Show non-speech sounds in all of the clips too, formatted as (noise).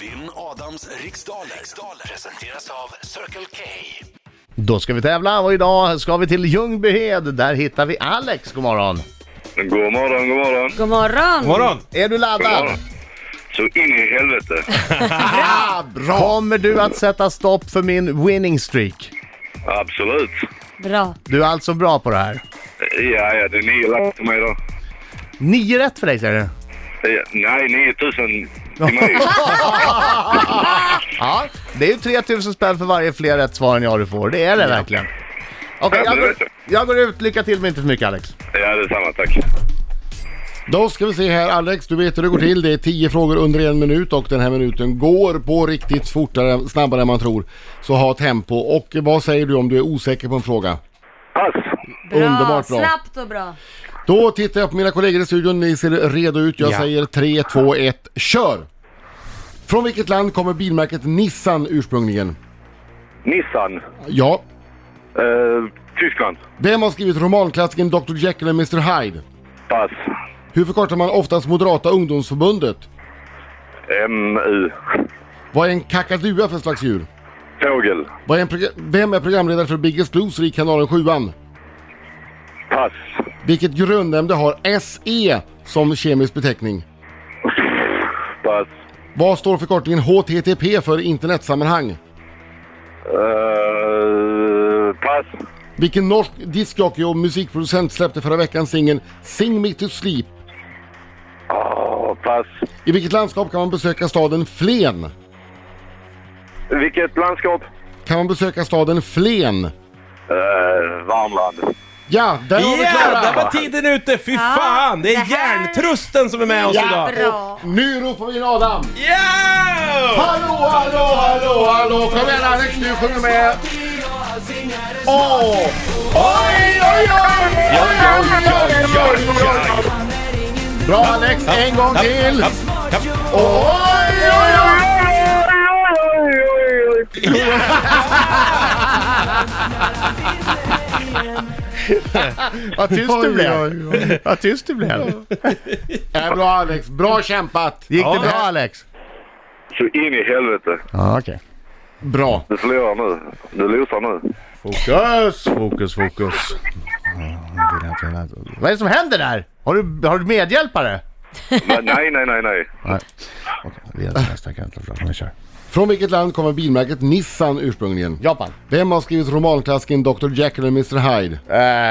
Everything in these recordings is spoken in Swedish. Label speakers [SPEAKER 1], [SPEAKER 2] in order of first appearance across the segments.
[SPEAKER 1] Vinn Adams riksdaler. riksdaler presenteras av Circle K.
[SPEAKER 2] Då ska vi tävla och idag ska vi till Ljungbyhed. Där hittar vi Alex. God morgon.
[SPEAKER 3] God morgon, god morgon.
[SPEAKER 4] God morgon!
[SPEAKER 5] Morgon!
[SPEAKER 2] Är du
[SPEAKER 3] God
[SPEAKER 2] laddad?
[SPEAKER 3] morgon. Så in i (laughs) helvete.
[SPEAKER 2] Ah, bra! Kommer du att sätta stopp för min winning streak?
[SPEAKER 3] Absolut.
[SPEAKER 4] Bra.
[SPEAKER 2] Du är alltså bra på det här.
[SPEAKER 3] Ja, ja, det är nio lax till mig då.
[SPEAKER 2] Nio rätt för dig säger du?
[SPEAKER 3] Ja, nej, 9000 till (laughs) mig.
[SPEAKER 2] Ja, det är ju 3000 spänn för varje fler rätt svar än jag du får. Det är det verkligen. Okej,
[SPEAKER 3] Ja,
[SPEAKER 2] jag,
[SPEAKER 3] men det vet
[SPEAKER 2] går, jag går ut. Lycka till men inte för mycket Alex.
[SPEAKER 3] Ja, detsamma. Tack.
[SPEAKER 6] Då ska vi se här Alex, du vet hur det går till. Det är 10 frågor under en minut och den här minuten går på riktigt fortare, snabbare än man tror. Så ha tempo. Och vad säger du om du är osäker på en fråga?
[SPEAKER 3] Pass.
[SPEAKER 4] bra.
[SPEAKER 6] Underbart bra.
[SPEAKER 4] Snabbt och bra.
[SPEAKER 6] Då tittar jag på mina kollegor i studion, ni ser redo ut. Jag
[SPEAKER 5] Ja.
[SPEAKER 6] säger 3, 2, 1, kör! Från vilket land kommer bilmärket Nissan ursprungligen?
[SPEAKER 3] Nissan.
[SPEAKER 6] Ja.
[SPEAKER 3] Eh, Tyskland.
[SPEAKER 6] Vem har skrivit romanklassikern Dr Jekyll och Mr Hyde?
[SPEAKER 3] Pass.
[SPEAKER 6] Hur förkortar man oftast Moderata ungdomsförbundet?
[SPEAKER 3] MU.
[SPEAKER 6] Vad är en kakadua för slags djur?
[SPEAKER 3] Fågel.
[SPEAKER 6] Vad är en progra- Vem är programledare för Biggest Loser i kanalen 7
[SPEAKER 3] Pass.
[SPEAKER 6] Vilket grundämne har SE som kemisk beteckning?
[SPEAKER 3] Pass.
[SPEAKER 6] Vad står förkortningen HTTP för i internetsammanhang?
[SPEAKER 3] Eh, pass.
[SPEAKER 6] Vilken norsk discjockey och musikproducent släppte förra veckan singeln Sing Me To Sleep?
[SPEAKER 3] Ah, pass.
[SPEAKER 6] I vilket landskap kan man besöka staden Flen?
[SPEAKER 3] Vilket landskap?
[SPEAKER 6] Kan man besöka staden Flen?
[SPEAKER 3] Eh, Värmland.
[SPEAKER 6] Ja, där var vi
[SPEAKER 5] Ja, där
[SPEAKER 6] klara!
[SPEAKER 5] var tiden ute! Fy fan! Det
[SPEAKER 4] det
[SPEAKER 5] är
[SPEAKER 4] här-
[SPEAKER 5] järntrusten som är med oss idag!
[SPEAKER 4] Bra.
[SPEAKER 6] Nu ropar vi in Adam!
[SPEAKER 5] Ja!
[SPEAKER 6] Hallå, hallå, hallå, hallå! Kom igen Alex, nu sjunger du med! Åh! Oj, oj, oj! Oj, oj, oj, oj, oj, oj! Bra Alex, en gång till!
[SPEAKER 5] Tapp, tapp.
[SPEAKER 6] Oj, oj, oj!
[SPEAKER 2] Vad tyst
[SPEAKER 6] Oj,
[SPEAKER 2] du
[SPEAKER 6] oj,
[SPEAKER 2] blev. Vad tyst du blev.
[SPEAKER 6] Ja, bra Alex, bra kämpat!
[SPEAKER 2] Gick det
[SPEAKER 5] Ja.
[SPEAKER 2] bra Alex?
[SPEAKER 3] Så in i helvete.
[SPEAKER 2] Ja, okej.
[SPEAKER 6] Bra!
[SPEAKER 3] Du förlorar nu. Du losar nu.
[SPEAKER 2] Fokus, fokus, fokus. Vad är det som händer där? Har du, har du medhjälpare?
[SPEAKER 3] Men nej, nej, nej, nej.
[SPEAKER 2] Nej. Okej, vi är nästa kandidat. Nu kör.
[SPEAKER 6] Från vilket land kommer bilmärket Nissan ursprungligen?
[SPEAKER 2] Japan.
[SPEAKER 6] Vem har skrivit romanklassikern Dr Jekyll och Mr Hyde?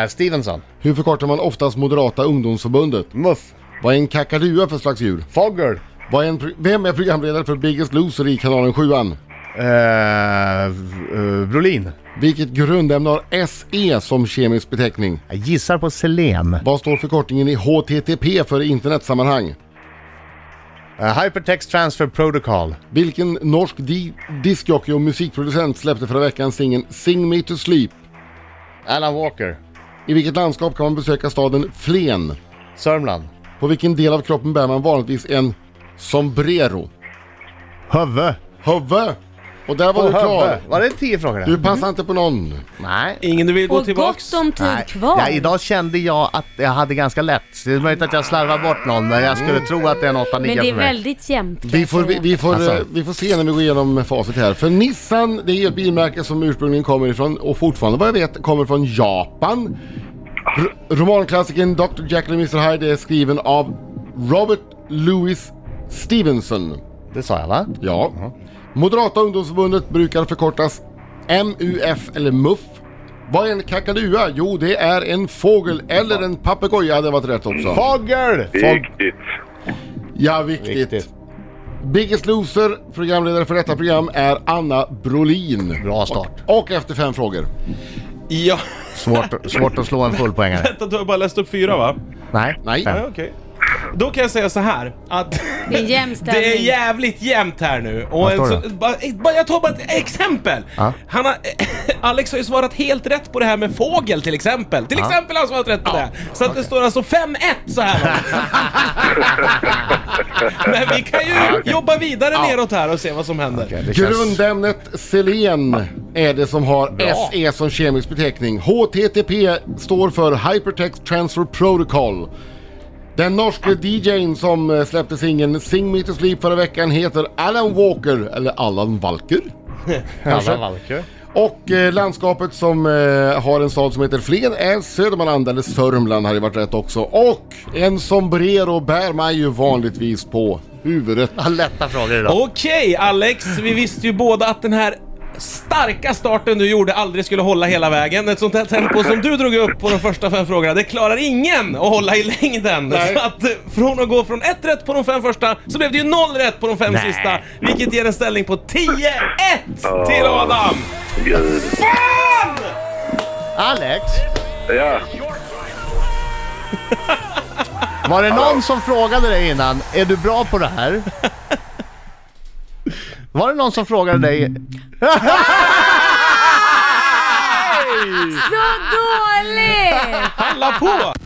[SPEAKER 2] Eh, Stevenson.
[SPEAKER 6] Hur förkortar man oftast Moderata ungdomsförbundet?
[SPEAKER 2] Muff.
[SPEAKER 6] Vad är en kakadua för slags djur?
[SPEAKER 2] Fogger.
[SPEAKER 6] Vad är en pro- Vem är programledare för Biggest Loser i kanalen 7
[SPEAKER 2] Eh, eh, Brolin.
[SPEAKER 6] Vilket grundämne har SE som kemisk beteckning?
[SPEAKER 2] Jag gissar på selen.
[SPEAKER 6] Vad står förkortningen i HTTP för i internetsammanhang?
[SPEAKER 2] Eh, Hypertext Transfer Protocol.
[SPEAKER 6] Vilken norsk di- discjockey och musikproducent släppte förra veckan singeln Sing Me To Sleep?
[SPEAKER 2] Alan Walker.
[SPEAKER 6] I vilket landskap kan man besöka staden Flen?
[SPEAKER 2] Sörmland.
[SPEAKER 6] På vilken del av kroppen bär man vanligtvis en sombrero?
[SPEAKER 2] Hövve.
[SPEAKER 6] Huvud! Och där var
[SPEAKER 2] Var
[SPEAKER 6] du klar!
[SPEAKER 2] Var det tio frågor? där?
[SPEAKER 6] Du passade inte på någon.
[SPEAKER 2] Nej.
[SPEAKER 5] Ingen du vill gå
[SPEAKER 4] Och gott
[SPEAKER 5] tillbaks?
[SPEAKER 4] om tid
[SPEAKER 2] Nej.
[SPEAKER 4] kvar.
[SPEAKER 2] Ja, idag kände jag att jag hade ganska lätt. Det är möjligt att jag slarvar bort någon, men jag skulle tro att det är en 8-9 för mig.
[SPEAKER 4] Men det är väldigt jämnt. kan
[SPEAKER 6] Vi
[SPEAKER 4] jag
[SPEAKER 6] får,
[SPEAKER 4] säga.
[SPEAKER 6] vi, vi, får,
[SPEAKER 2] Alltså.
[SPEAKER 6] eh, vi får se när vi går igenom facit här. För Nissan, det är ett bilmärke som ursprungligen kommer ifrån, och fortfarande vad jag vet, kommer från Japan. R- romanklassikern Dr. Jekyll och Mr. Hyde är skriven av Robert Louis Stevenson.
[SPEAKER 2] Det sa jag va?
[SPEAKER 6] Ja. Moderata ungdomsförbundet brukar förkortas MUF eller MUF. Vad är en kakadua? Jo, det är en fågel eller en papegoja hade varit rätt också.
[SPEAKER 2] Fogger!
[SPEAKER 3] Viktigt.
[SPEAKER 6] Ja, viktigt.
[SPEAKER 2] Viktigt.
[SPEAKER 6] Biggest Loser, programledare för detta program, är Anna Brolin.
[SPEAKER 2] Bra start.
[SPEAKER 6] Och, och efter fem frågor.
[SPEAKER 5] Ja, (laughs)
[SPEAKER 2] Svårt, svårt att slå en fullpoängare.
[SPEAKER 5] vänta, du har bara läst upp fyra va?
[SPEAKER 2] Nej.
[SPEAKER 6] Nej.
[SPEAKER 2] Fem.
[SPEAKER 5] Ja, okej. Då kan jag säga så här att (laughs)
[SPEAKER 4] Det är en jämn ställning.
[SPEAKER 5] det är jävligt jämnt här nu. Och
[SPEAKER 2] Vad
[SPEAKER 5] en
[SPEAKER 2] står
[SPEAKER 5] så,
[SPEAKER 2] det?
[SPEAKER 5] bara, ett- bara, jag tar bara ett exempel!
[SPEAKER 2] Ja.
[SPEAKER 5] Han har, (laughs) Alex har ju svarat helt rätt på det här med fågel till exempel. Till exempel har han svarat rätt på det. Så att det står alltså 5-1 så här
[SPEAKER 2] (laughs)
[SPEAKER 5] långt. Men vi kan ju jobba vidare neråt här och se vad som händer.
[SPEAKER 2] Det känns-
[SPEAKER 6] Grundämnet selen är det som har SE som kemisk beteckning. HTTP står för Hypertext Transfer Protocol. Den norske DJn som eh, släppte singeln Sing Me To Sleep förra veckan heter Alan Walker, eller Allan Walker.
[SPEAKER 2] Alla valkar.
[SPEAKER 6] Och eh, landskapet som eh, har en stad som heter Flen är Södermanland, eller Sörmland hade varit rätt också. Och en sombrero bär man ju vanligtvis på huvudet.
[SPEAKER 2] Ja, lätta frågor idag.
[SPEAKER 5] Okej Alex, vi visste ju båda att den här starka starten du gjorde aldrig skulle hålla hela vägen. Ett sånt här tempo som du drog upp på de första fem frågorna, det klarar ingen att hålla i längden.
[SPEAKER 6] Nej.
[SPEAKER 5] Så att eh, från att gå från ett rätt på de fem första så blev det ju noll rätt på de fem
[SPEAKER 2] Nej.
[SPEAKER 5] sista. Vilket ger en ställning på 10-1 till Adam!
[SPEAKER 3] Gud.
[SPEAKER 2] Alex,
[SPEAKER 3] Ja.
[SPEAKER 2] var det någon som frågade dig innan, är du bra på det här? Var det någon som frågade dig?
[SPEAKER 4] Så dåligt!
[SPEAKER 5] Alla på!